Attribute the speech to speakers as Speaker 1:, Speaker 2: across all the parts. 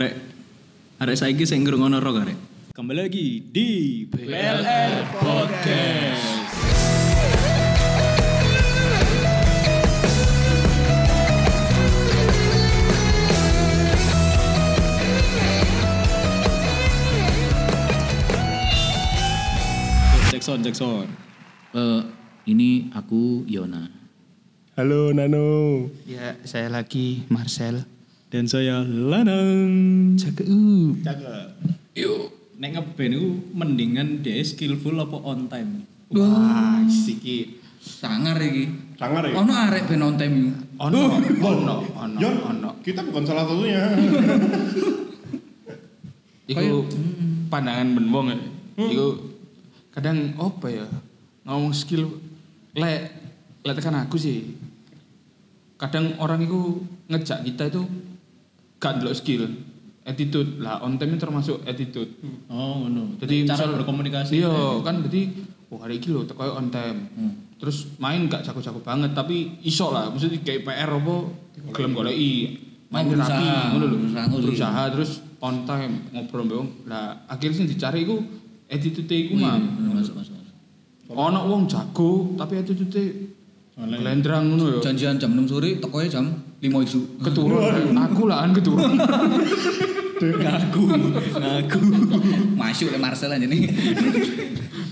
Speaker 1: Rek, arek saiki sing ngrungokno rock arek.
Speaker 2: Kembali lagi di PLR Podcast. Jackson, Jackson.
Speaker 3: Eh, ini aku Yona.
Speaker 4: Halo Nano.
Speaker 5: Ya, saya lagi Marcel.
Speaker 2: Dan saya Lanang.
Speaker 5: Cakep.
Speaker 1: Yo, nek ngeband iku mendingan dia skillful apa on time?
Speaker 5: Wah, siki.
Speaker 3: Sangar iki.
Speaker 4: Sangar ya?
Speaker 3: Ono arek ben on time iku.
Speaker 5: Ono, ono, ono,
Speaker 4: Yon,
Speaker 5: ono.
Speaker 4: kita bukan salah satunya.
Speaker 5: Iku pandangan ben wong ya. Iku kadang apa ya? Ngomong skill lek lek tekan aku sih. Kadang orang itu ngejak kita itu gak ndelok skill, attitude. Lah on time itu termasuk attitude.
Speaker 1: Oh, ngono.
Speaker 5: Jadi
Speaker 1: cara
Speaker 5: misal-
Speaker 1: berkomunikasi.
Speaker 5: Iya,
Speaker 3: eh.
Speaker 5: kan berarti wah hari ini lho teko on time.
Speaker 1: Hmm.
Speaker 5: Terus main gak jago-jago banget tapi iso lah, maksudnya kayak PR apa gelem goleki.
Speaker 3: Main
Speaker 5: Main rapi
Speaker 3: berusaha,
Speaker 5: ngono lho.
Speaker 3: berusaha nguli.
Speaker 5: Berusaha terus on time ngobrol mbek wong. Lah akhirnya sing dicari iku attitude iku mah.
Speaker 3: Masuk masuk. masuk.
Speaker 5: Ono wong jago tapi attitude Lendrang ngono ya.
Speaker 3: Janjian jam 6 sore, tekoe jam 5 isu.
Speaker 5: Keturun, aku lah an keturun.
Speaker 1: Ngaku, ngaku.
Speaker 3: Masuk le Marcel aja nih.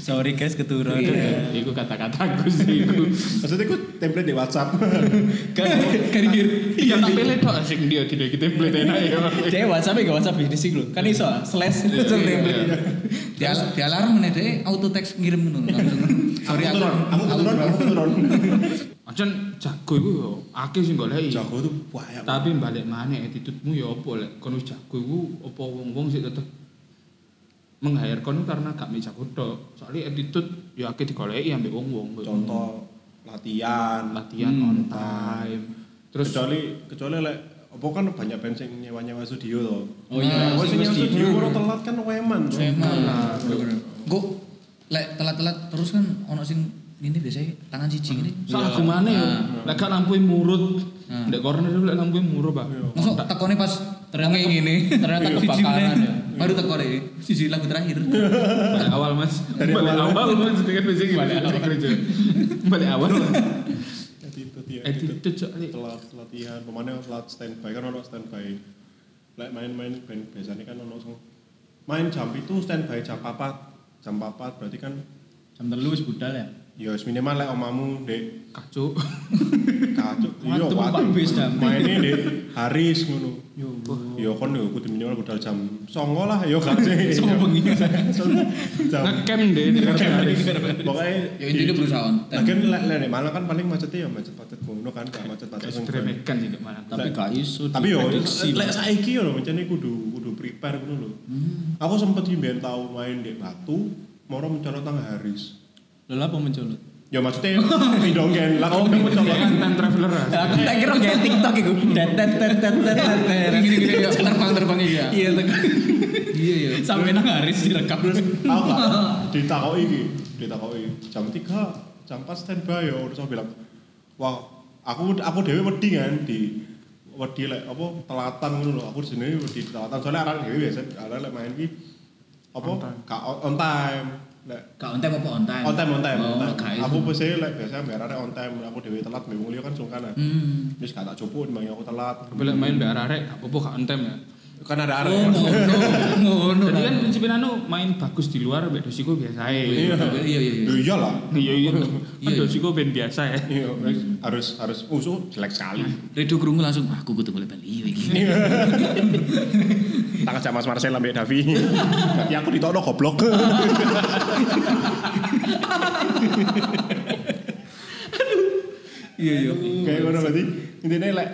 Speaker 3: Iya.
Speaker 1: Sorry guys keturun.
Speaker 5: Iku kata-kataku sih. iku.
Speaker 4: Maksudnya gue template di WhatsApp.
Speaker 5: Iya, tak pilih tok asik dia tidak kita template enak ya.
Speaker 1: Dia WhatsApp gak WhatsApp bisnis iku lho. Kan iso ah, slash.
Speaker 3: Iya,
Speaker 1: Iya.
Speaker 3: Di, al- di alarm meneh deh, auto text ngirim ngono langsung. Sorry aku.
Speaker 4: Kamu keturun, kamu keturun.
Speaker 5: Ancen jago iku yo akeh sing goleki.
Speaker 4: Jago tuh banyak.
Speaker 5: Tapi balik maneh attitude-mu yo apa lek kon wis jago iku apa wong-wong sik tetep meng-hire kon karena gak mi jago tok. Soale attitude yo akeh digoleki ambek wong-wong.
Speaker 4: Contoh latihan,
Speaker 5: latihan
Speaker 4: Hmm.
Speaker 5: on time. Terus
Speaker 4: kecuali kecuali lek apa kan banyak band sing nyewa-nyewa studio to.
Speaker 1: Oh iya,
Speaker 4: Nah, sing
Speaker 1: sing
Speaker 4: nyewa
Speaker 1: studio.
Speaker 4: studio ora telat kan weman. toh.
Speaker 3: Nah, Gue lek telat-telat terus kan ono sing ini biasanya tangan siji ini.
Speaker 5: salah gumane yo. ya, Lek gak lampu murut, ndek corner lek lampu murut, Pak.
Speaker 3: Masuk tekone pas ternyata ngene.
Speaker 1: ternyata kebakaran ya.
Speaker 3: Baru tekone ini. Siji lagu terakhir.
Speaker 5: Balik awal, Mas. Balik awal, Mas. Dengan basic balik awal. Balik awal.
Speaker 4: Attitude ya. attitude.
Speaker 5: Attitude soalnya
Speaker 4: Telat latihan, pemainnya telat standby kan ono standby. Lek main-main band biasanya kan ono sing main jam itu standby jam 4. Jam 4 berarti kan
Speaker 1: Jam telu wis budal ya.
Speaker 4: ya wis minimal lek omamu dek
Speaker 5: kacuk.
Speaker 4: kacuk iya
Speaker 1: Waduh,
Speaker 4: waduh.
Speaker 1: Pak Bis, Dam.
Speaker 4: maine di Haris ngono yo kon yo kudu minimal modal jam 09.00 lah yo gak sih
Speaker 1: Sopo bengi.
Speaker 4: jam
Speaker 5: Ngecamp deh di Nah, Haris.
Speaker 4: pokoknya
Speaker 3: Ya intinya berusaha on time.
Speaker 4: lagian lek lek di Malang kan paling macetnya ya macet-macet ngono kan gak macet-macet sing band.
Speaker 5: Ekstremekan sih kemana?
Speaker 1: Tapi gak iso.
Speaker 4: tapi yo
Speaker 1: diprediksi.
Speaker 4: lek saiki yo lho, mencene kudu kudu prepare ngono lho aku sempet ki ben tau main di Batu moro mencolot nang Haris
Speaker 1: Lho lah apa mencolot?
Speaker 4: ya maksudnya pindonggen lah kan mencolot
Speaker 5: Time traveler.
Speaker 1: Aku tak kira kayak TikTok iku. Tet tet tet tet tet tet.
Speaker 3: Gini-gini ya, terbang-terbang ya.
Speaker 1: Iya,
Speaker 3: Iya iya.
Speaker 1: sampai nang Haris direkam.
Speaker 4: terus tahu nggak ditakoki iki ditakoki jam 3 jam 4 standby ya terus aku bilang wah aku aku dhewe wedi kan di wedi lek apa telatan ngono lho aku jenenge wedi di telatan soalnya arek dhewe biasa arek lek main ki apa gak on on time lek
Speaker 3: Gak on time apa on time?
Speaker 4: on time on time, on
Speaker 3: Oh,
Speaker 4: time.
Speaker 3: gak iso.
Speaker 4: aku biasanya lek biasa biar arek on time aku dhewe telat bingung liya kan sungkan ah
Speaker 3: Hmm.
Speaker 4: wis gak tak cupu timbang aku telat
Speaker 5: Tapi lek main mbak Arek, gak apa-apa gak ontem ya.
Speaker 4: kan ada arek
Speaker 3: Oh, ngono. Ngono.
Speaker 5: Jadi kan prinsipnya anu main bagus di luar, mbak Dosiko biasa ya.
Speaker 4: iya
Speaker 3: Iya, iya, iya.
Speaker 4: iya lah
Speaker 5: Iya
Speaker 3: Iya,
Speaker 5: iya. Kan
Speaker 3: iya.
Speaker 5: Dosiko band biasa ya.
Speaker 4: iya harus harus musuh jelek sekali
Speaker 3: Redo krungu langsung "Ah, aku kudu mulai bali iki.
Speaker 4: tak kerja Mas Marcel ambek Davi. Tapi Ya, aku ditokno goblok.
Speaker 3: Iya iya.
Speaker 4: Kayak ngono berarti intine lek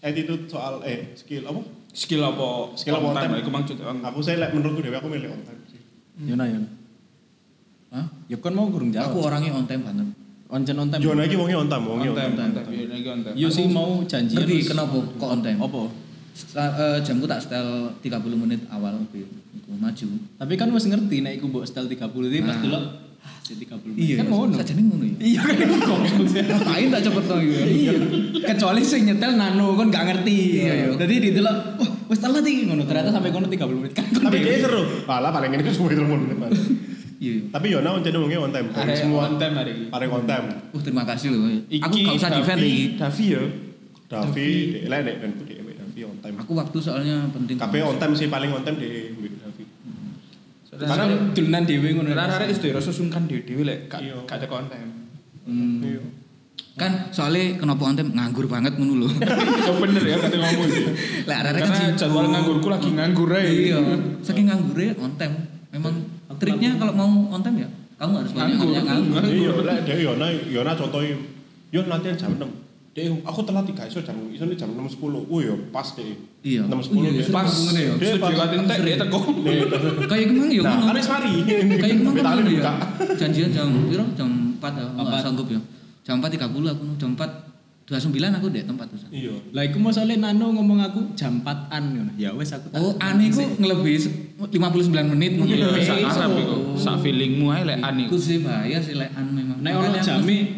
Speaker 4: attitude soal eh skill apa?
Speaker 5: Skill apa?
Speaker 4: Skill apa on time?
Speaker 5: Iku maksud on
Speaker 4: Aku saya lek menurutku dhewe aku milih on time sih.
Speaker 1: Yona Yona.
Speaker 3: Ya Hah?
Speaker 1: Ya kan mau gurung
Speaker 3: Iya, Aku
Speaker 1: jawab.
Speaker 3: orangnya on time banget.
Speaker 1: Oncen on time.
Speaker 4: Yo iki wonge on time, wonge on time.
Speaker 5: time. Iya lagi on time.
Speaker 1: Yo sing mau janji.
Speaker 3: Ngerti
Speaker 1: terus-
Speaker 3: kenapa kok on time?
Speaker 1: Apa?
Speaker 3: Sta- eh, jamku tak setel 30 menit awal iku iku maju.
Speaker 1: Tapi kan wis ngerti nek iku mbok style 30 iki
Speaker 3: Nah.
Speaker 1: pas delok ah, jadi kabel
Speaker 3: Iya. Kan ngono. Sajane ngono ya.
Speaker 5: Iya kan itu goblok.
Speaker 3: Ngapain tak cepet no gitu. Iya. Kecuali sing nyetel nano kan gak ngerti. Iya, iya. Jadi ditelok, wah, wis telat iki ngono. Ternyata sampai ngono 30 menit kan. kon
Speaker 4: Tapi
Speaker 3: dewe.
Speaker 4: dia seru. Malah paling ini kan semuanya terlalu menit. Pak.
Speaker 3: Iya. iya.
Speaker 4: Tapi Yona onten ngomongnya on time.
Speaker 5: Ada
Speaker 4: Semua
Speaker 5: one time hari ini.
Speaker 4: paling on time.
Speaker 3: Uh, terima kasih loh. Aku
Speaker 5: Iki,
Speaker 3: gak usah defend
Speaker 5: Davi.
Speaker 3: lagi.
Speaker 5: Davi ya.
Speaker 4: Davi, lek nek ben Davi Davi on time.
Speaker 3: Aku waktu soalnya penting.
Speaker 4: Kabeh on time sih paling on time di Davi.
Speaker 5: Karena
Speaker 3: dulunan dhewe ngono.
Speaker 5: arek-arek wis rasa sungkan dhewe-dhewe lek gak
Speaker 4: Iya.
Speaker 5: gak teko on time.
Speaker 4: Iya.
Speaker 3: Kan soalnya kenapa on time nganggur banget ngono lho.
Speaker 5: Ya bener ya kata ngomong sih.
Speaker 3: Lah arek kan
Speaker 5: Karena
Speaker 3: sibuk.
Speaker 5: jadwal nganggurku lagi nganggur eh. ae.
Speaker 3: Iya, saking nganggurnya on time. Memang triknya kalau mau on time ya, kamu harus banyak
Speaker 5: Nganggur.
Speaker 3: banyak nganggur.
Speaker 4: Iya, lek dia Yona Yona contohnya Yon latihan jam 6. Dia aku telat tiga iso jam iso jam 6.10. Oh ya pas deh.
Speaker 3: Iya. Iya,
Speaker 4: 6.10 deh.
Speaker 3: sering
Speaker 5: Pas
Speaker 3: ngomongnya ya.
Speaker 5: studio kate entek dia teko.
Speaker 3: Kayak kemang ya
Speaker 4: Nah,
Speaker 3: ngono.
Speaker 4: kan wis mari.
Speaker 3: Kayak kemang kan
Speaker 4: Betale
Speaker 3: ngono ya.
Speaker 4: buka.
Speaker 3: Janjian jam piro? Jam 4 ya. Enggak
Speaker 1: Empat.
Speaker 3: sanggup ya. Jam 4.30 aku jam 4 29 aku dek tempat tuh.
Speaker 4: Iya.
Speaker 1: lah iku masalah Nano ngomong aku jam 4an ngono ya wes aku
Speaker 4: Nah,
Speaker 1: tak-
Speaker 3: Oh, aneh ku ngelebihi se- 59 menit mungkin.
Speaker 5: Iya,
Speaker 3: Eh,
Speaker 5: sak arep iku. Sak feelingmu ae lek an
Speaker 3: Iku
Speaker 5: iku.
Speaker 3: sih bahaya sih lek an memang.
Speaker 1: nek ono
Speaker 3: Makanya aku
Speaker 1: jame
Speaker 3: mesti-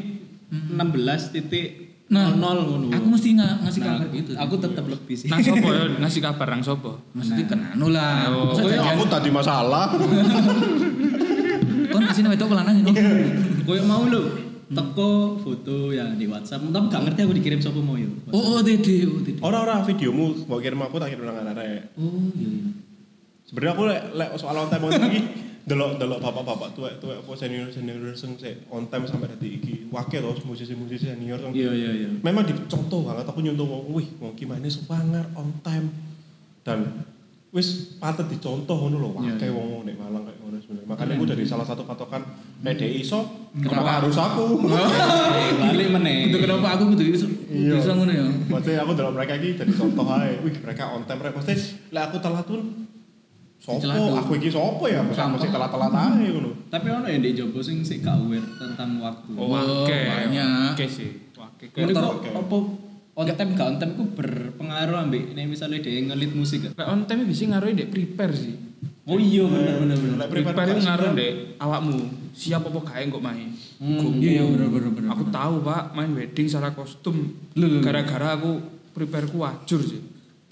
Speaker 1: 16 titik
Speaker 3: Nah,
Speaker 1: nol ngono
Speaker 3: Aku mesti nga- ngasih
Speaker 1: Nah,
Speaker 3: kabar
Speaker 1: aku-
Speaker 3: gitu.
Speaker 1: aku tetap lebih sih
Speaker 5: Nang sopo ya ngasih kabar nang sopo?
Speaker 3: mesti kenanu lah.
Speaker 5: Oh,
Speaker 3: Masa
Speaker 4: Pokoknya
Speaker 3: janjian-
Speaker 4: aku tadi masalah.
Speaker 3: Kon asine wedok apa lanang ngono.
Speaker 1: koyo mau lho teko foto ya di WhatsApp tapi gak ngerti aku dikirim sapa mau yo
Speaker 3: Oh, oh, dede, oh, dede.
Speaker 4: Ora-ora videomu mau kirim aku tak kirim nang arek.
Speaker 3: Oh, iya, iya.
Speaker 4: Sebenarnya aku lek lek soal on time on time iki delok delok bapak-bapak tuwek tuwek apa senior senior sing sik on time sampai dadi iki. Wakil loh musisi-musisi senior sing
Speaker 1: iya iya iya
Speaker 4: memang dicontoh banget aku nyontoh wong wih wong gimana sepangar on time dan wis patut dicontoh ngono lho
Speaker 1: Iya,
Speaker 4: wakai
Speaker 1: iya.
Speaker 4: wong nek Malang kayak ngono sebenarnya makanya
Speaker 3: Iya.
Speaker 4: aku dari salah satu patokan nek dia iso
Speaker 3: Kenapa?
Speaker 4: kenapa harus aku
Speaker 3: Iya.
Speaker 1: Eh, balik meneh
Speaker 3: Itu kenapa aku kudu iso
Speaker 4: Iya.
Speaker 3: iso ngono ya.
Speaker 4: maksudnya aku dalam mereka ini jadi contoh aja wih mereka on time mereka maksudnya lah aku telat pun sopo
Speaker 3: Dicelato.
Speaker 4: aku iki sopo ya aku
Speaker 3: Sampah.
Speaker 4: masih telat-telat aja ngono
Speaker 1: tapi ono yang di jopo sing sik gak aware tentang waktu
Speaker 5: Oh,
Speaker 3: Wah, banyak.
Speaker 5: Oke sih. Oke.
Speaker 1: Ini
Speaker 3: Ntar-
Speaker 1: kok apa on time gak on time ku berpengaruh ambek nek misalnya dia ngelit musik gak?
Speaker 5: Lek on time bisa ngaruh dek prepare sih.
Speaker 1: Oh iya bener bener bener.
Speaker 4: Lek prepare
Speaker 5: Prepare
Speaker 4: pas-
Speaker 5: ngaruh dek awakmu. Siap apa gawe kok main.
Speaker 1: Hmm,
Speaker 5: Goblok.
Speaker 3: Iya, iya, bener bener bener.
Speaker 5: Aku tahu pak main wedding salah kostum.
Speaker 3: Lho, lho, lho.
Speaker 5: Gara-gara aku prepareku wajur sih.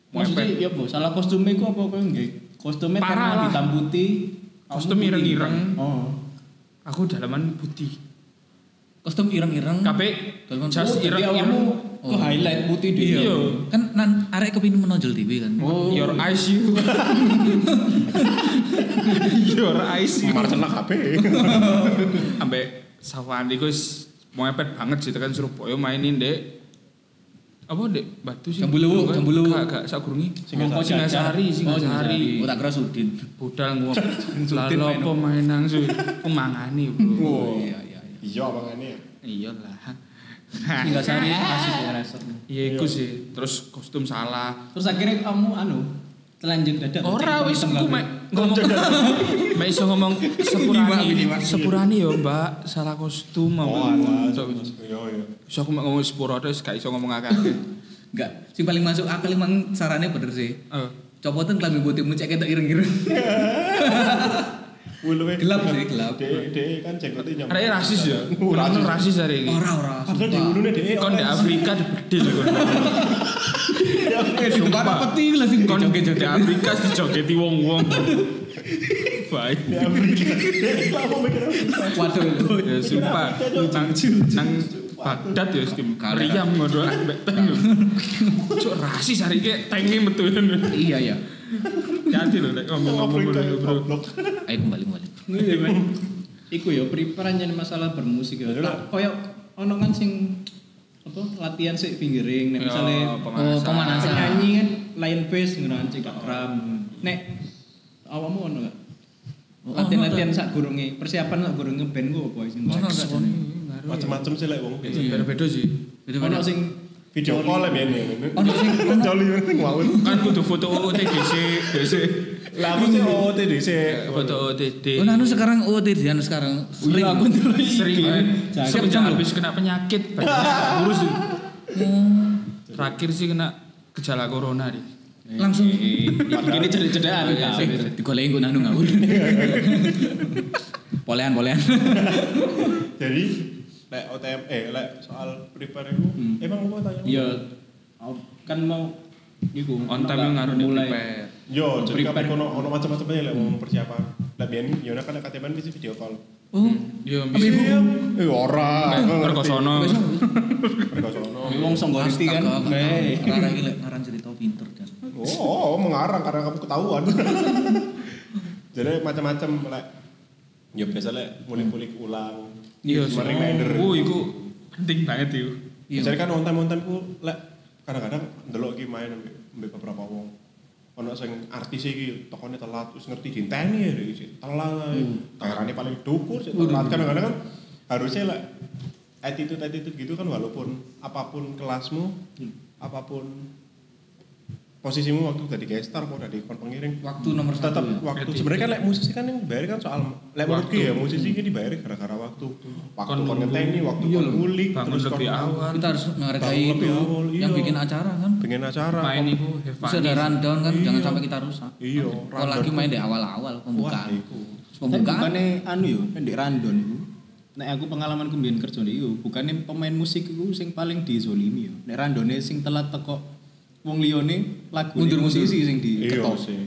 Speaker 1: Maksudnya
Speaker 5: Mepet.
Speaker 1: ya bu, salah kostumnya ku apa kau nggih? Kostumnya
Speaker 5: Parah
Speaker 1: karena
Speaker 5: lah.
Speaker 1: hitam putih.
Speaker 5: Kostum
Speaker 1: kamu putih.
Speaker 5: ireng-ireng.
Speaker 1: Oh.
Speaker 5: Aku dalaman putih.
Speaker 3: Kostum ireng-ireng.
Speaker 5: Kape
Speaker 3: Dalaman
Speaker 5: jas
Speaker 1: Oh, jadi awakmu
Speaker 5: ireng-ireng. Oh.
Speaker 1: ke highlight putih dia.
Speaker 5: Iya.
Speaker 3: Kan nan arek kepengin menonjol TV kan.
Speaker 5: Oh, your eyes you. your eyes you.
Speaker 4: Marcella KB
Speaker 3: Iya,
Speaker 5: Ambek sawan iku wis mepet banget sih tekan Surabaya mainin dek. Apa dek? Batu sih.
Speaker 3: Jambuluwu,
Speaker 5: Bukan.
Speaker 3: Jambuluwu.
Speaker 5: Gak, gak Sakurngi.
Speaker 1: Singasari.
Speaker 5: Oh, Singasari, Singasari.
Speaker 3: Oh, tak kira Sudin.
Speaker 5: Budal ngono. Lalu apa main nang su pemangani, Bro.
Speaker 3: Iya, iya, iya.
Speaker 4: iya makanya
Speaker 5: Iyalah.
Speaker 1: Singasari asik ya resep.
Speaker 5: Iya iku sih. Terus kostum salah.
Speaker 1: Terus akhirnya kamu anu telanjang dada.
Speaker 5: Ora wis
Speaker 1: Tenggelam.
Speaker 5: engko mek ngomong. Mek iso ngomong sepurani. Sepurani yo, Mbak. Salah kostum
Speaker 4: oh
Speaker 5: apa.
Speaker 4: alah
Speaker 5: So,
Speaker 4: iya iya
Speaker 5: Iso aku mek ngomong sepura terus gak iso ngomong akeh.
Speaker 3: Enggak, sing paling masuk akal emang sarannya bener sih.
Speaker 5: Eh,
Speaker 3: Copotan klambi botimu cek ketok ireng-ireng.
Speaker 4: Wih, lu, weh.
Speaker 3: Gelap sih, gelap.
Speaker 4: Dek, dek kan jenggotnya nyampe.
Speaker 5: Arek rasis ya.
Speaker 4: Ora
Speaker 5: Ora rasis arek iki.
Speaker 3: Ora ora.
Speaker 4: Padahal di gunungnya dek.
Speaker 5: Kon di Afrika dibedil kon.
Speaker 3: Sumpah peti lah sing
Speaker 5: Kon
Speaker 3: joget
Speaker 5: di Afrika dijogeti wong-wong. Baik.
Speaker 4: Di Afrika. Dek, kok aku mikir Afrika?
Speaker 3: Waduh.
Speaker 5: Ya sumpah, nang nang Baghdad ya stim.
Speaker 3: Kalian.
Speaker 5: Meriam ngono lah mbek tank. lho. Cuk rasis hari iki tangi metu. kan.
Speaker 3: Iya, iya.
Speaker 5: Hati lho nek ngomong-ngomong
Speaker 4: Afrika, ya,
Speaker 5: ngono bro.
Speaker 4: goblok.
Speaker 3: Ayo kembali kembali.
Speaker 1: Iya, men. Iku ya prepare anjen masalah bermusik ya. Tak koyo ono kan sing apa latihan sik fingering
Speaker 5: Ya,
Speaker 1: nek misale
Speaker 3: Oh,
Speaker 5: pemanasan.
Speaker 3: pemanasan.
Speaker 1: penyanyi kan lain bass ngono kan cek kram. Nek awakmu ono gak?
Speaker 3: Oh,
Speaker 1: Latihan-latihan sak gurunge, persiapan sak gurunge band ku apa sing
Speaker 3: Ono gak jane?
Speaker 4: Macem-macem sih lek wong.
Speaker 3: Iya,
Speaker 5: Beda-beda sih.
Speaker 1: ono sing
Speaker 4: Video call lah biyen.
Speaker 3: Ono sing ono
Speaker 4: Joli sing ngawur.
Speaker 5: Kan kudu foto OOTDC, DC.
Speaker 4: Lah aku sih OOTD sih.
Speaker 5: Foto OOTD.
Speaker 3: Oh, Nanu sekarang OOTD Nanu sekarang
Speaker 1: Oh,
Speaker 3: sering.
Speaker 1: iya,
Speaker 3: aku
Speaker 5: Sering kan.
Speaker 1: Jangan.
Speaker 5: Semenjak
Speaker 3: Jangan.
Speaker 5: habis kena penyakit, banyak urus.
Speaker 3: Oh.
Speaker 5: Terakhir sih kena gejala corona nih.
Speaker 3: Langsung
Speaker 1: ini cedek-cedekan
Speaker 5: Iya,
Speaker 1: kan.
Speaker 5: sih.
Speaker 3: digoleki nggo Nanu ngawur. Polean, polean.
Speaker 4: Jadi lek OTM eh lek soal prepare itu emang gua tanya.
Speaker 1: Iya. Kan mau iku
Speaker 5: on time
Speaker 1: nggak
Speaker 5: ngaruh di prepare
Speaker 4: Yo, jadi
Speaker 1: Prepare.
Speaker 4: kapan kono ono macam-macam aja lek ngomong persiapan. Lah biyen Yona kan lek KTM bisa video call.
Speaker 3: Oh,
Speaker 5: iya
Speaker 4: Iya,
Speaker 5: bisa
Speaker 4: Eh ora. aku ngerti.
Speaker 5: perkosono
Speaker 4: Perkosono.
Speaker 1: Wong songgo ngerti kan. Hei.
Speaker 3: Rara iki lek ngaran cerita pinter kan.
Speaker 4: Oh, mengarang karena kamu ketahuan. Jadi macam-macam lek. Ya biasa lek mulik-mulik ulang.
Speaker 5: iya
Speaker 4: Cuma
Speaker 5: sih.
Speaker 4: reminder.
Speaker 5: oh itu penting banget itu
Speaker 4: Jadi kan on time on time ku lek kadang-kadang ndelok ki main ambek ambek beberapa wong. Ono sing artis iki tokone telat wis ngerti dinteni ya dari sik telat. Tayarane paling dukur sik telat kadang-kadang kan harusnya lek attitude attitude gitu kan walaupun apapun kelasmu, apapun posisimu waktu dari guest star kok dari kon pengiring
Speaker 3: Waktu nomor satu
Speaker 4: tetap
Speaker 3: ya?
Speaker 4: waktu
Speaker 5: Hmm. Jadi-
Speaker 4: sebenarnya kan lek musisi kan yang dibayar kan soal lek menurutku
Speaker 5: Waktu.
Speaker 4: ya musisi ini dibayar gara-gara waktu waktu
Speaker 5: Kon
Speaker 4: kon
Speaker 5: nunggu.
Speaker 4: ngeteni waktu
Speaker 5: Iya
Speaker 4: kon
Speaker 5: loh.
Speaker 4: ngulik
Speaker 5: Bangun
Speaker 4: terus kon
Speaker 5: lebih awal.
Speaker 3: Kita harus menghargai
Speaker 4: Bangun
Speaker 3: itu
Speaker 4: lebih awal, iya.
Speaker 3: yang bikin acara kan.
Speaker 4: pengen acara
Speaker 5: main
Speaker 4: kok-
Speaker 5: itu have fun
Speaker 3: Bisa ada rundown kan,
Speaker 4: Iya.
Speaker 3: jangan sampai kita rusak.
Speaker 4: iya
Speaker 3: Kalau lagi main di awal-awal
Speaker 4: Wah, iya.
Speaker 3: pembukaan.
Speaker 4: iku.
Speaker 1: Tapi
Speaker 3: Pembukaan.
Speaker 1: bukannya anu yo, kan di random iku. Nek aku pengalaman kumbian kerja niku, bukannya pemain musik iku sing paling dizolimi yo. Nek randone sing telat teko wong liyane lagu
Speaker 3: Mundur-mundur.
Speaker 1: musisi sing
Speaker 4: iya
Speaker 1: diketok.
Speaker 4: sih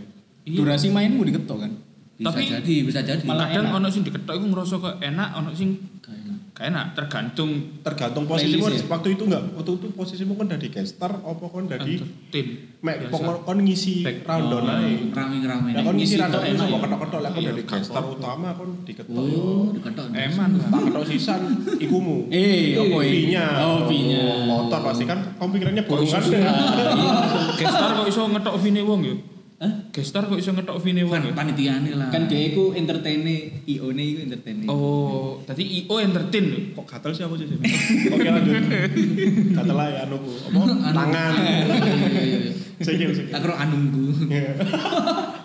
Speaker 5: Iya.
Speaker 1: Durasi mainmu diketok kan.
Speaker 3: Bisa
Speaker 5: Tapi-
Speaker 3: jadi, bisa jadi.
Speaker 1: Malah
Speaker 5: kadang
Speaker 1: enak.
Speaker 5: ono sing diketok iku ngerasa kok enak ono sing gak enak tergantung
Speaker 4: tergantung posisimu
Speaker 1: Playlist ya?
Speaker 4: waktu itu enggak waktu itu posisimu kan dari caster apa kon dari
Speaker 5: eh, tim
Speaker 4: mek
Speaker 5: Biasa.
Speaker 4: pokok kon ngisi
Speaker 5: Back-
Speaker 4: rundown
Speaker 5: oh,
Speaker 4: ae
Speaker 3: Rame-rame.
Speaker 4: Lah kon
Speaker 1: Ngisi
Speaker 4: ngisi
Speaker 1: kok
Speaker 4: rundown iso
Speaker 1: enak
Speaker 4: kok
Speaker 1: ya?
Speaker 4: ketok-ketok lah kon
Speaker 5: Iya,
Speaker 4: dari caster utama kon diketok
Speaker 3: Oh, diketok.
Speaker 5: eman lah
Speaker 4: tak ketok sisan ikumu
Speaker 1: Eh, apa iki?
Speaker 4: V-nya.
Speaker 1: Oh, V-nya.
Speaker 4: Motor pasti kan kamu pikirannya bolongan.
Speaker 5: gestar kok iso ngetok vine wong yo gestar kok iso ngetok vine wong
Speaker 3: Pan
Speaker 5: yo
Speaker 3: panitiane lah.
Speaker 1: Kan dia iku entertaine, IO-ne iku entertaine.
Speaker 5: oh tadi io entertain lho.
Speaker 4: Kok
Speaker 1: Ah.
Speaker 4: gatel sih aku sih? Oke lanjut. Gatel lah ya anuku. Apa? Tangan.
Speaker 3: Anu. Iya, iya, iya.
Speaker 4: Sikil sikil.
Speaker 3: Tak kira anungku.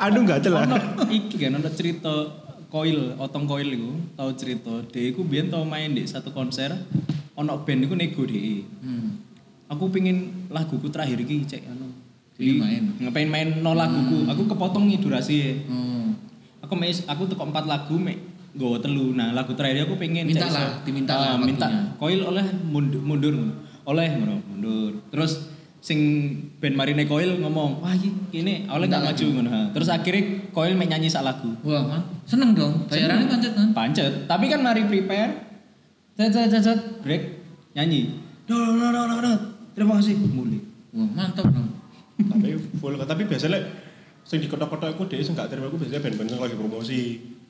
Speaker 4: Aduh gatel lah.
Speaker 1: ono iki kan ono cerita koil otong koil iku tau cerita dia iku biyen tau main di satu konser ono band iku nego dia
Speaker 3: Hmm.
Speaker 1: aku pingin laguku terakhir iki cek anu
Speaker 3: Jadi main. Hmm.
Speaker 1: ngapain main no laguku aku kepotong nih durasi
Speaker 3: Oh.
Speaker 1: aku mes aku teko empat lagu mek nggawa telu nah lagu terakhir aku pengen
Speaker 3: Minta
Speaker 1: cek iso.
Speaker 3: lah, diminta lah
Speaker 1: Ah, minta
Speaker 3: waktunya.
Speaker 1: koil oleh mundur mundur ngono. oleh ngono mundur terus sing band Marine Koil ngomong wah iki ini oleh
Speaker 3: Minta
Speaker 1: gak maju ngono ha. terus akhirnya Koil mek nyanyi sak lagu
Speaker 3: Wah, man. seneng dong. Bayarannya pancet kan.
Speaker 1: pancet tapi kan mari prepare cet cet cet cet break nyanyi do do do do do terima kasih mulai
Speaker 3: Wah, mantap dong.
Speaker 4: Tapi full tapi biasanya sing di kotak-kotak aku dia sing gak terima aku biasanya band-band yang lagi promosi.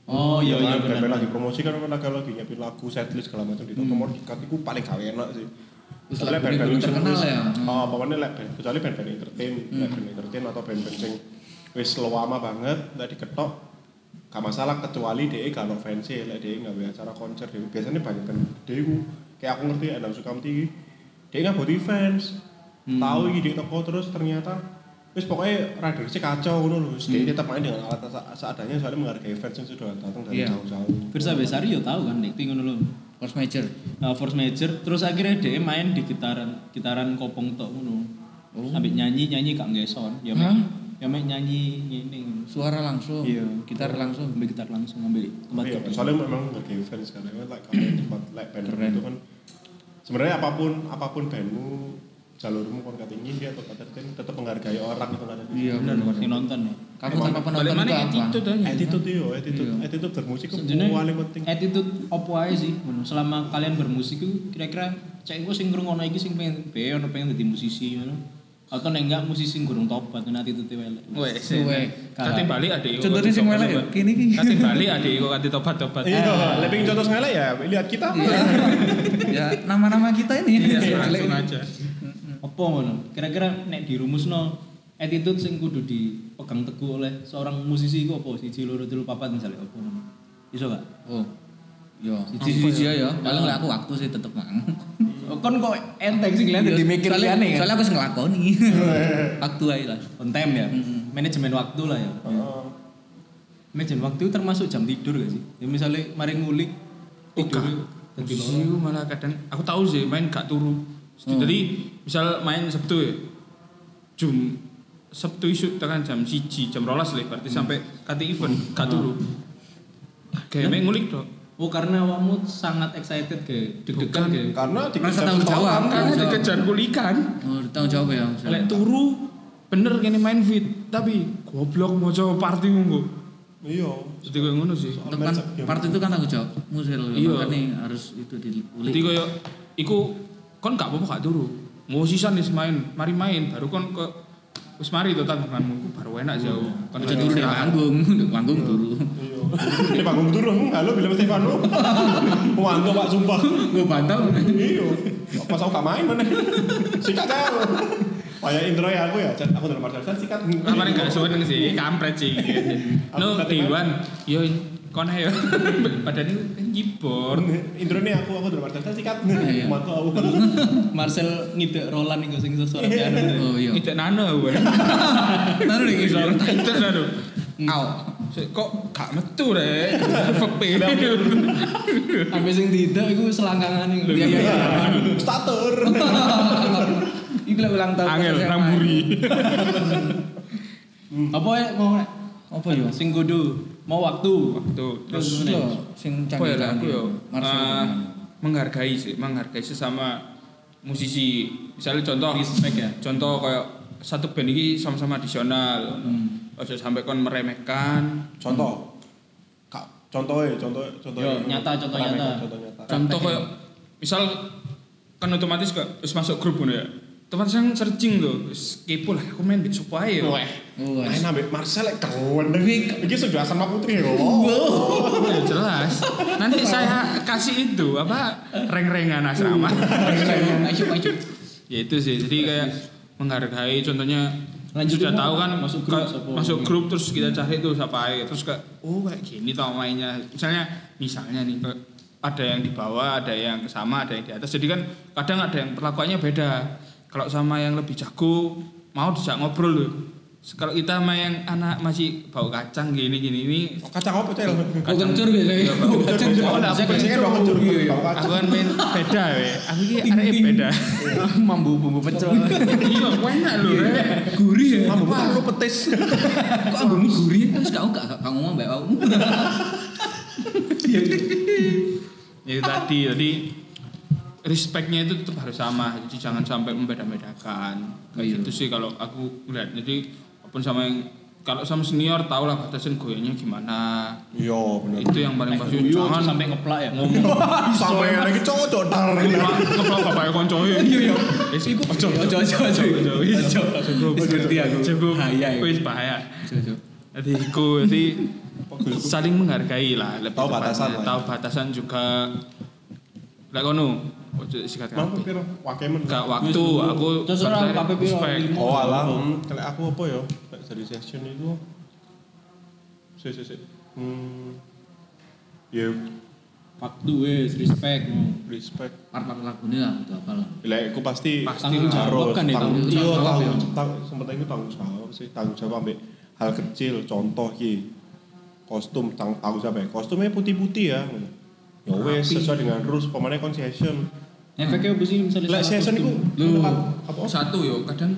Speaker 1: oh iya iya
Speaker 4: kan,
Speaker 1: benar
Speaker 4: band-band lagi promosi kan kan lagi lagi nyiapin lagu setlist segala macam di nomor dikat itu paling gak enak sih.
Speaker 3: Terus
Speaker 4: Soalnya
Speaker 3: lagu ini belum
Speaker 4: sing
Speaker 3: terkenal
Speaker 4: wis-
Speaker 3: ya? Hmm.
Speaker 4: Oh, pokoknya lek band- kecuali band-band entertain, lek band entertain atau band-band sing wis lama banget lek diketok gak masalah kecuali dia gak ono fancy lek dia gak ada acara konser dia biasanya banyak band dia ku kayak aku ngerti ada Sukamti iki, dia gak buat fans tahu iki dia toko terus ternyata wis pokoknya rider sih kacau ngono lho Wis dia tetap main dengan alat sa- seadanya soalnya menghargai fans yang sudah datang dari
Speaker 3: Iya.
Speaker 4: jauh-jauh
Speaker 1: Firsa Besari yo tahu kan nek ngono lho
Speaker 3: Force major.
Speaker 1: uh, force major terus akhirnya dia main di gitaran gitaran kopong tok ngono
Speaker 4: Oh.
Speaker 1: sampai nyanyi nyanyi kak ngeson ya mek
Speaker 3: Oh. Hah?
Speaker 1: ya mek nyanyi ngene
Speaker 3: Suara langsung.
Speaker 1: Iya.
Speaker 3: Gitar langsung.
Speaker 1: ambil gitar langsung ambil tempat
Speaker 4: Oh, Iya,
Speaker 1: gedung.
Speaker 4: soalnya memang nggak fans kan, emang like kalau tempat like band
Speaker 3: Keren.
Speaker 4: itu kan sebenarnya apapun apapun bandmu jalurmu kon kata ingin dia atau kata tertentu, tetap menghargai orang itu kan
Speaker 3: Iya,
Speaker 1: bener
Speaker 3: benar.
Speaker 1: sing nonton ya
Speaker 3: Kamu tanpa
Speaker 5: balik
Speaker 3: penonton itu
Speaker 5: mana
Speaker 3: apa?
Speaker 5: attitude aja
Speaker 4: Nah, attitude yo attitude
Speaker 3: Iya.
Speaker 4: attitude bermusik itu
Speaker 1: Sebenarnya
Speaker 4: paling penting
Speaker 1: attitude opo ae sih ngono. Selama kalian bermusik itu kira-kira cek iku sing ngrungokno iki sing pengen be ono pengen dadi musisi ngono. Atau nek enggak musisi sing gurung tobat ngono attitude elek.
Speaker 5: Weh, nah,
Speaker 3: Weh.
Speaker 5: kate bali adek iku.
Speaker 3: Contohnya sing melek ya? Kini ki.
Speaker 5: Kate bali adek iku kate tobat-tobat.
Speaker 4: iya lebih contoh sekali ya lihat kita
Speaker 3: Iya. Ya, nama-nama kita ini.
Speaker 5: Iya,
Speaker 3: Jelek.
Speaker 5: langsung aja.
Speaker 1: Opo ngono? Kira-kira nek dirumusno attitude sing kudu dipegang teguh oleh seorang musisi iku opo? Siji loro telu papat misalnya opo ngono. Iso gak?
Speaker 3: Oh. Yo, siji-siji ya. Paling lek aku waktu sih tetep mang.
Speaker 1: Oh, Kon kok enteng sih kalian
Speaker 3: Iya,
Speaker 1: jadi mikir
Speaker 3: soalnya-
Speaker 1: liyane kan.
Speaker 3: Soalnya aku wis ngelakoni. Waktu ae lah.
Speaker 1: On time ya.
Speaker 3: Mm-mm.
Speaker 1: Manajemen waktu lah ya.
Speaker 4: Heeh.
Speaker 1: Manajemen waktu itu termasuk jam tidur gak sih? Ya misalnya mari ngulik tidur dadi loro.
Speaker 5: Musisi ku malah kadang aku tahu sih main gak turu. Jadi misal main Sabtu ya. Jum Sabtu isuk tekan jam 1 jam 12 lah berarti sampai kate event gak turu. Kayak mek ngulik tok.
Speaker 1: Oh karena awakmu sangat excited ke deg-degan ke.
Speaker 4: Karena di
Speaker 3: Merasa tanggung jawab.
Speaker 5: Karena dikejar kulikan.
Speaker 3: Oh, tanggung jawab ya. maksudnya.
Speaker 5: Lek turu bener kene main fit, tapi goblok mau coba party munggu.
Speaker 4: Iya.
Speaker 5: Jadi gue ngono sih.
Speaker 3: Itu kan part itu kan tanggung jawab. Musir kan
Speaker 5: Iya.
Speaker 3: nih harus itu
Speaker 5: Jadi
Speaker 3: diulik.
Speaker 5: koyo iku kon gak apa-apa gak turu. Mau sisan nih main, mari main baru kon ke wis mari to tanggunganmu ku baru enak jauh. Kon
Speaker 3: Aja dulu di panggung, di panggung dulu.
Speaker 4: Iya. Di panggung turun, halo bilang Stefano. Wanto Pak sumpah.
Speaker 3: Gue bantau.
Speaker 4: Iya. Pas aku gak main mana. Sikat ya. Kayak intro ya aku ya. Jan, Aku dalam artian Jan, sikat.
Speaker 5: Apa nih gak seneng sih, kampret sih. No,
Speaker 4: Aku tadi
Speaker 5: Dewan, yo kon ae yo. Badan eh, itu ngibor.
Speaker 4: Intro ini aku aku dalam artian Jan, sikat.
Speaker 3: Iya, iya.
Speaker 4: Wanto aku.
Speaker 1: Marcel ngidek Roland iku sing sesuara piano. itu.
Speaker 3: Oh iya.
Speaker 5: Tidak nano gue.
Speaker 3: Ntar nih
Speaker 5: Tidak
Speaker 3: ngisor.
Speaker 5: nano.
Speaker 3: Ngau.
Speaker 5: Kok gak metu rek? Pepe.
Speaker 1: Sampai sing tidak iku selangkangan iku.
Speaker 3: Iya iya. iya.
Speaker 4: Starter.
Speaker 3: Iku lah ulang tahun.
Speaker 5: Angel
Speaker 3: SMA.
Speaker 5: ramburi.
Speaker 1: Apa ya mau ya? nek?
Speaker 3: Apa yo?
Speaker 1: Sing kudu mau waktu.
Speaker 5: Tuh, terus
Speaker 3: Terus yo sing
Speaker 5: apa ya aku
Speaker 3: canggih-canggih.
Speaker 5: yo eh,
Speaker 3: Marcel.
Speaker 5: menghargai sih, menghargai sesama musisi. Misalnya contoh
Speaker 1: Respect ya.
Speaker 5: contoh kayak satu band ini sama-sama addisional. Ojo sampai kon meremehkan.
Speaker 4: Contoh. Kak, contohnya, contoh, contoh.
Speaker 1: Yo, nyata, contoh
Speaker 4: Rame,
Speaker 1: nyata.
Speaker 4: Contoh nyata.
Speaker 5: Contoh kayak misal kan otomatis kok terus masuk grup ngono ya. Otomatis yang searching tuh, wis kepo lah, aku main beat sopo ae ya. yo.
Speaker 3: Oh,
Speaker 4: Main ambek Marcel lek keren.
Speaker 3: Wih.
Speaker 4: Iki sudah sama putri ya. Wow.
Speaker 5: Ya, jelas. Nanti saya kasih itu apa reng-rengan asrama.
Speaker 3: Ayo ayo.
Speaker 5: ya itu sih jadi kayak menghargai contohnya sudah
Speaker 1: Lanjutin mau
Speaker 5: tahu kan
Speaker 1: masuk
Speaker 5: masuk
Speaker 1: grup
Speaker 5: grup,
Speaker 1: siapa?
Speaker 5: masuk grup terus kita cari tuh siapa aja terus kayak oh kayak gini tau mainnya misalnya misalnya nih kayak ada yang di bawah ada yang sama ada yang di atas jadi kan kadang ada yang perlakuannya beda kalau sama yang lebih jago mau dijak ngobrol loh kalau kita sama yang anak masih bau kacang gini gini ini
Speaker 4: Kacang apa cel?
Speaker 3: Kau kencur biasanya. Kau kencur. Kau
Speaker 4: Oh, enggak, aku
Speaker 3: kencur.
Speaker 4: biasanya doang kencur.
Speaker 3: Iya, iya.
Speaker 4: Bau
Speaker 5: aku
Speaker 4: kacang.
Speaker 5: kan main beda we aku ini anaknya beda
Speaker 3: Mambu bumbu pecel.
Speaker 5: iya enak loh Rek.
Speaker 3: Gurih ya.
Speaker 4: Mampu lu petis.
Speaker 3: Kok ambumu gurih? Terus kau gak gak ngomong mbak kau.
Speaker 5: Ya itu tadi, jadi respectnya itu tetap harus sama, jadi jangan sampai membeda-bedakan. Kayak
Speaker 3: Iya.
Speaker 5: gitu sih kalau aku melihat. Jadi apapun sama yang kalau sama senior tau lah batasan goyangnya gimana.
Speaker 4: Iya, bener.
Speaker 5: Itu yang paling pasti
Speaker 1: Yo
Speaker 5: jangan sampai
Speaker 1: sampai ngeplak ya.
Speaker 4: Iya. Sampai lagi cocok dar.
Speaker 5: Iya, ngeplok bapaknya koncoe. Iya iya. Wis iku ojo
Speaker 3: Ojo ojo ojo. Ojo. Wis ngerti aku.
Speaker 5: Cukup.
Speaker 3: Bahaya iku.
Speaker 5: Wis bahaya.
Speaker 3: Ojo, ojo.
Speaker 5: Jadi iku jadi
Speaker 4: gitu?
Speaker 5: saling menghargai lah lebih
Speaker 4: Tahu batasan
Speaker 5: tepatnya.
Speaker 4: lah ya.
Speaker 5: Tahu batasan juga. Lek kono ojo sikat
Speaker 4: Mampu
Speaker 5: kabeh.
Speaker 4: piro? Wakemen.
Speaker 5: Gak waktu aku
Speaker 1: Terus orang
Speaker 5: tertarik
Speaker 1: KPP orang
Speaker 5: respect.
Speaker 1: lima.
Speaker 4: Oh alah, hmm. kalau aku apa ya? Kayak dari session itu. Si si si. Hmm. Ya
Speaker 1: Waktu wes respect.
Speaker 4: respect.
Speaker 3: Part-part lagunya lah. Itu apa lah.
Speaker 4: Lah aku pasti
Speaker 5: Pasti
Speaker 1: Tanggung jawab kan ya
Speaker 3: jawab.
Speaker 4: tanggung
Speaker 1: tanggung
Speaker 4: iya,
Speaker 3: jawab
Speaker 4: tanggung
Speaker 3: ya.
Speaker 4: tang- sebenarnya itu tanggung jawab sih, tanggung jawab ambek hal kecil contoh ki. Kostum tang tanggung jawab ya. Kostumnya putih-putih ya. Ya wes
Speaker 5: Rapi.
Speaker 4: sesuai dengan rules pemainnya kon session.
Speaker 1: Efeknya apa sih misalnya
Speaker 4: Lah
Speaker 1: salah
Speaker 4: session itu
Speaker 1: kostum?
Speaker 3: Lu.
Speaker 4: apa?
Speaker 5: Oh, satu yo kadang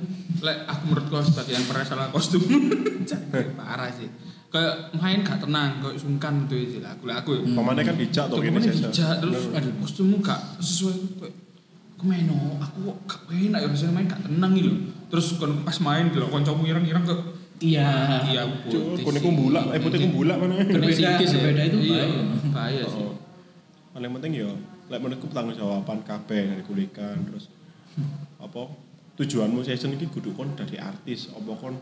Speaker 5: lek aku menurut kau sebagai yang pernah salah kostum Jangan, parah sih kayak main gak tenang kayak sungkan gitu ya sih lah aku lek aku ya.
Speaker 4: Pemainnya kan dijak tuh
Speaker 5: Tuh,
Speaker 4: kene
Speaker 5: kemana
Speaker 4: session.
Speaker 5: dijak terus
Speaker 4: Bener.
Speaker 5: aduh kostummu gak sesuai kayak kemeno aku kok gak enak ya rasanya main gak tenang gitu terus kon pas main gitu kancamu ireng-ireng kok
Speaker 1: Iya.
Speaker 5: iya
Speaker 4: Cuk,
Speaker 5: putih
Speaker 4: kon
Speaker 5: sih.
Speaker 4: iku bulak, eh putih ku bulak mana.
Speaker 1: Berbeda,
Speaker 3: Sikis ya.
Speaker 1: berbeda itu
Speaker 5: iya
Speaker 1: bahaya.
Speaker 5: bahaya sih
Speaker 4: Oh. Paling penting ya, lek menurutku tanggung jawaban kabeh dari kulikan terus apa tujuanmu session iki kudu kon dari artis, apa kon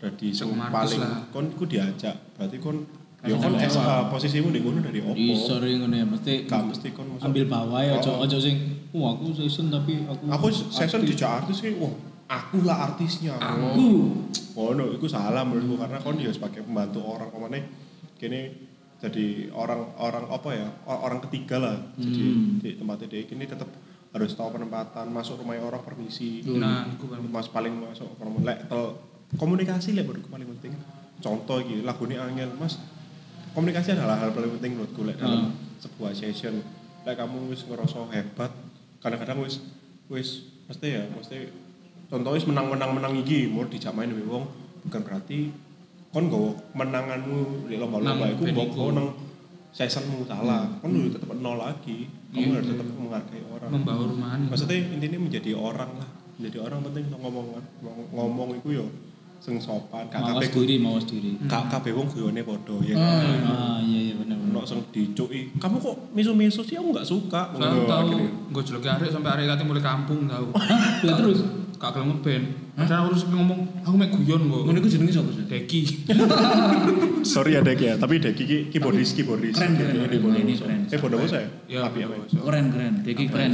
Speaker 4: dari sing
Speaker 5: Sing artis
Speaker 4: paling
Speaker 5: lah.
Speaker 4: kon iku diajak. Berarti kon ya
Speaker 1: Kasih
Speaker 4: kon
Speaker 1: tanggung
Speaker 4: es-
Speaker 1: jawab.
Speaker 4: eh, posisimu di kono dari opo?
Speaker 1: Di sore ngono ya mesti
Speaker 4: Gak mesti kon masuk.
Speaker 1: ambil bawah ya ojo
Speaker 4: Oh.
Speaker 1: ojo sing wah aku session tapi aku
Speaker 4: Aku session
Speaker 1: aktif."
Speaker 4: dijak artis iki, wah aku lah artisnya.
Speaker 5: Aku.
Speaker 4: Ngono, iku salah menurutku karena kon ya sebagai pembantu orang kemana kene jadi orang-orang apa ya or- orang ketiga lah jadi
Speaker 5: Hmm.
Speaker 4: di tempatnya dia ini tetap harus tahu penempatan masuk rumah orang permisi
Speaker 5: nah aku kan
Speaker 4: mas paling masuk promo lek tel komunikasi lek menurutku paling penting contoh iki lagune angel mas komunikasi adalah hal paling penting menurutku lek
Speaker 5: Hmm.
Speaker 4: dalam sebuah session lek kamu wis ngerasa hebat kadang-kadang wis wis mesti ya mesti contoh wis menang-menang menang iki mau dijak main ambek wong bukan berarti kon nggawa menanganmu di lomba-lomba
Speaker 5: Nang
Speaker 4: iku
Speaker 5: band
Speaker 4: mbok
Speaker 5: iku.
Speaker 4: nang seasonmu salah kan lu tetap nol lagi kamu
Speaker 5: Iya. Hmm.
Speaker 4: harus tetap menghargai orang
Speaker 5: membawa rumahan
Speaker 4: maksudnya intinya menjadi orang lah menjadi orang penting ngomong ngomong, ngomong itu yo sing sopan gak kabeh
Speaker 1: mawas diri mawas diri
Speaker 4: gak kabeh wong guyone padha ya
Speaker 3: Hmm.
Speaker 1: ah iya iya benar
Speaker 4: ono
Speaker 1: benar
Speaker 4: sing dicuki kamu kok misu-misu sih aku gak suka
Speaker 5: Soalnya
Speaker 4: Ngono,
Speaker 5: tahu
Speaker 4: oh, akhirnya.
Speaker 5: gue jelek arek sampai arek kate mulai kampung tahu.
Speaker 3: Lah terus?
Speaker 5: Kak gelem ngeband. Padahal aku harus ngomong aku mek guyon kok.
Speaker 3: Ngono iku jenenge sapa sih?
Speaker 5: Deki.
Speaker 4: sorry ya Dek ya tapi Dek iki keyboardis keyboardis
Speaker 3: Keren, keren,
Speaker 4: Dek,
Speaker 3: keren.
Speaker 4: keyboardis.
Speaker 3: Ini keren.
Speaker 4: iya, eh bodoh saya
Speaker 5: Ya.
Speaker 4: tapi apa
Speaker 5: Bodoh.
Speaker 3: Keren keren, Deki keren.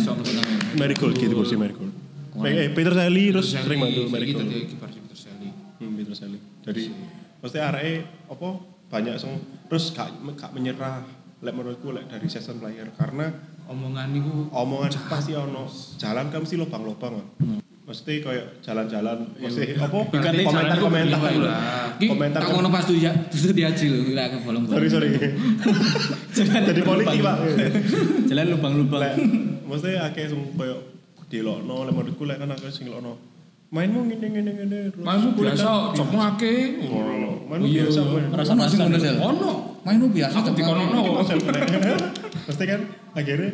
Speaker 4: Marigold keyboardis Marigold eh eh, Peter Sally terus sering bantu
Speaker 5: Gitu
Speaker 4: Marigold
Speaker 5: dia kibar sing terseli.
Speaker 4: hmm, Peter Sally jadi pasti arek apa banyak sing terus gak gak menyerah lek menurutku lek dari season player karena
Speaker 5: Omongan niku
Speaker 4: omongan pasti ono jalan kan mesti lobang-lobang kan mesti kayak jalan-jalan mesti apa
Speaker 5: Berarti
Speaker 4: komentar
Speaker 5: jalan itu
Speaker 4: komentar
Speaker 5: beli,
Speaker 4: gitu.
Speaker 5: Pak.
Speaker 3: Ki,
Speaker 4: komentar
Speaker 3: tak ngono pas tuh ya, tuh dia aji lho, gila kebolong.
Speaker 4: sorry sorry jadi politik pak
Speaker 1: jalan lubang-lubang
Speaker 4: lek mesti akeh sing koyo dilokno lek menurutku lek kan akeh sing lokno mainmu ngene ngene ngene terus kan
Speaker 5: Masuk biasa
Speaker 4: kulitan-
Speaker 5: cokmu ake.
Speaker 4: Ngono. mainmu
Speaker 5: iya.
Speaker 4: biasa main.
Speaker 3: Rasa masih ngono sel.
Speaker 5: Ono.
Speaker 3: Mainu biasa
Speaker 5: Aku dikonono.
Speaker 4: Iki konsep, Nek. mesti kan akhirnya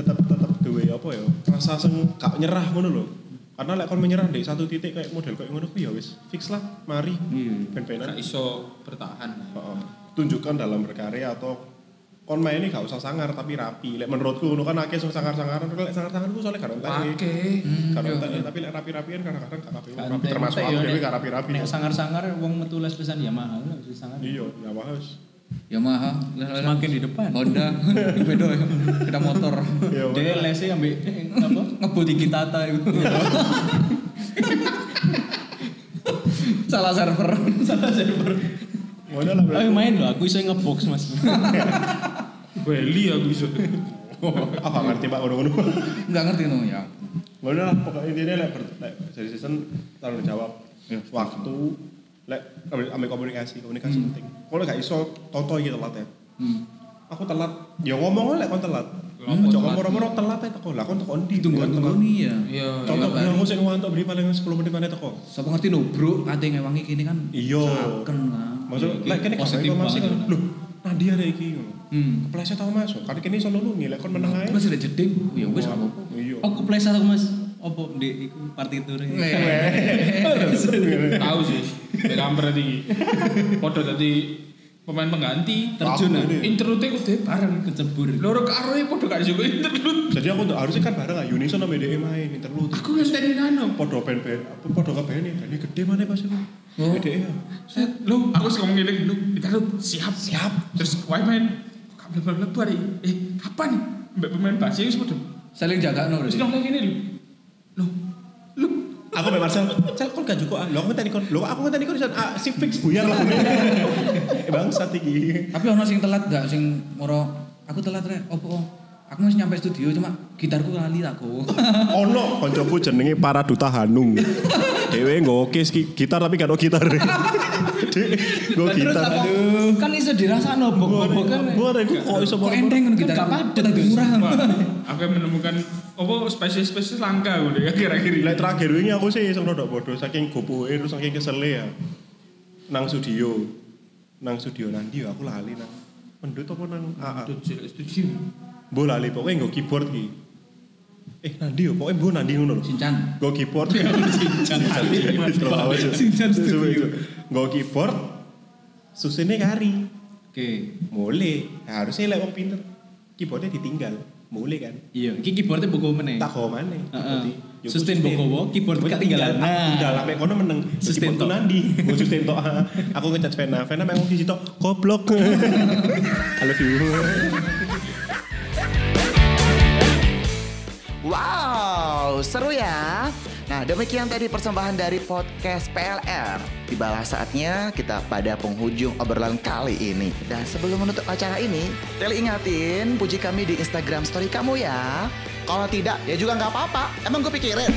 Speaker 4: tetap tetap duwe apa ya rasa sing gak nyerah ngono lho karena lek kon menyerah di satu titik kayak model kayak ngono ku ya wis fix lah mari ben-benan
Speaker 5: Hmm. Gak iso bertahan.
Speaker 4: Heeh. tunjukkan dalam berkarya atau kon main ini gak usah sangar tapi rapi lek menurutku ngono kan akeh sing sangar-sangaran lek sangar-sangaran ku soalnya gak entek
Speaker 5: Pake.
Speaker 4: Karena tapi lek rapi-rapian kadang-kadang gak rapi.
Speaker 1: Kan
Speaker 4: Rapi
Speaker 1: tek-
Speaker 4: termasuk
Speaker 1: tek
Speaker 4: aku
Speaker 1: yo,
Speaker 4: dhewe
Speaker 1: nek-
Speaker 4: gak rapi-rapi.
Speaker 1: nek sangar-sangar wong metu les pesan ya mahal lah mesti sangar
Speaker 4: Iya, ya wes.
Speaker 3: Yamaha,
Speaker 1: semakin di depan
Speaker 3: Honda, beda ya, kita motor.
Speaker 4: Ya wes.
Speaker 1: dia lesnya ambek eh, apa
Speaker 3: Ngebut iki tata itu. Salah server. Salah server.
Speaker 4: Ngono lah.
Speaker 1: ayo main loh aku iso ngebox mas
Speaker 5: Beli aku iso.
Speaker 4: Aku gak ngerti Pak ngono-ngono.
Speaker 3: Enggak ngerti no ya.
Speaker 4: Ngono lah pokoknya intinya lek ber- lek jadi season tanggung jawab waktu lek ambil, ambil komunikasi, komunikasi penting. Kalau gak iso toto iki telat ya. Aku telat, ya ngomong aja lek kon telat.
Speaker 5: Hmm,
Speaker 4: Ojo
Speaker 5: telat.
Speaker 4: ngomong-ngomong telat ae teko. Lah kon teko ndi?
Speaker 3: Tunggu-tunggu nih ya.
Speaker 5: Iya.
Speaker 4: Contoh
Speaker 3: Iya,
Speaker 4: ngomong sing ngantuk beri paling 10 menit maneh teko.
Speaker 3: Sapa ngerti no bro, ate ngewangi kini kan.
Speaker 4: Iya.
Speaker 3: Saken lah.
Speaker 4: Maksud
Speaker 1: Iya,
Speaker 4: lek kene gak
Speaker 1: positif
Speaker 4: informasi
Speaker 1: banget,
Speaker 4: kan.
Speaker 1: Nak.
Speaker 4: Loh, Nadi ada iki ngono.
Speaker 3: Hmm.
Speaker 4: Kepleset tau masuk. Kan kene iso nulungi lek kon meneng ae.
Speaker 3: Masih ada jeding. Oh, Ya wis apa apa.
Speaker 4: Iya.
Speaker 1: aku pleset aku mas opo ndek iku partiturnya
Speaker 4: Iya.
Speaker 5: Tahu sih. Nek kamper iki. Padha dadi pemain pengganti.
Speaker 1: terjun ah.
Speaker 5: Interlute kudu bareng.
Speaker 1: kecebur
Speaker 5: Loro karo e padha gak disuguh interlude.
Speaker 4: Jadi aku tuh harusnya kan bareng ayo Unison sama DE main interlude.
Speaker 5: Aku ngenteni nano.
Speaker 4: Podo pen pen, apa podo ke pen ini gede mana pas itu?
Speaker 3: Oh.
Speaker 4: DE ya.
Speaker 5: Set, lu aku sih ngomong gini, lu interlude siap siap. Terus wae main. Kok gak mlebu-mlebu hari. Eh, kapan? Mbak pemain basi wis padha.
Speaker 3: Saling jaga no
Speaker 5: Terus
Speaker 3: berarti.
Speaker 5: ngomong gini lu. Lu lu
Speaker 4: Aku mbak Marcel, Marcel kon gak cukup ah. Lo aku tadi kon, lo aku tadi kon Isan, ah, si fix buyar lah. Eh, Bangsat iki.
Speaker 3: Tapi ono sing telat gak sing moro aku telat rek. Opo? Aku masih nyampe studio cuma gitarku lali tak go.
Speaker 1: Oh,
Speaker 4: Ono koncoku jenenge para duta Hanung. Dewe nggo oke gitar tapi gak ada gitar. Dek, nggo gitar.
Speaker 3: Aduh. Kan iso dirasakno bok-bok kan.
Speaker 1: eh.
Speaker 4: Buat aku kok iso
Speaker 3: Kok enteng ngono
Speaker 1: Kan
Speaker 3: gitar.
Speaker 1: gak padet,
Speaker 3: Tetep murah.
Speaker 5: Wah, aku yang menemukan apa spesies-spesies langka gitu ya, gue deh
Speaker 4: Lek
Speaker 5: akhir-akhir ini.
Speaker 4: terakhir ini aku sih sing rodok bodoh saking gopoke terus saking kesele ya. Nang studio. Nang studio nanti ya aku lali nang pendut apa nang AA.
Speaker 5: Aduh, jelek setuju.
Speaker 4: Mbok lali pokoke nggo keyboard ki. Eh nanti yo pokoke mbok nanti ngono lho.
Speaker 3: Sincan.
Speaker 4: Nggo keyboard. Sincan studio. Nggo keyboard. Susine kari.
Speaker 1: oke
Speaker 4: Mole. Nah, harusnya lek wong pinter keyboardnya ditinggal. Mole kan.
Speaker 1: iya iki keyboardnya bogo meneh
Speaker 4: tak kau mana
Speaker 1: Heeh.
Speaker 4: ya
Speaker 1: Sustain Bogowo, keyboard ketinggalan.
Speaker 4: nah
Speaker 1: Nah.
Speaker 4: udah lama kono meneng
Speaker 1: Sustain
Speaker 4: keyboard
Speaker 1: tok.
Speaker 4: nandi gue sustain tok aku ngecat Vena Vena memang di situ goblok I love you
Speaker 6: Wow, seru ya. Nah, demikian tadi persembahan dari podcast PLR. Tibalah saatnya kita pada penghujung obrolan kali ini. Dan sebelum menutup acara ini, Teli ingatin puji kami di Instagram story kamu ya. Kalau tidak, ya juga nggak apa-apa. Emang gue pikirin.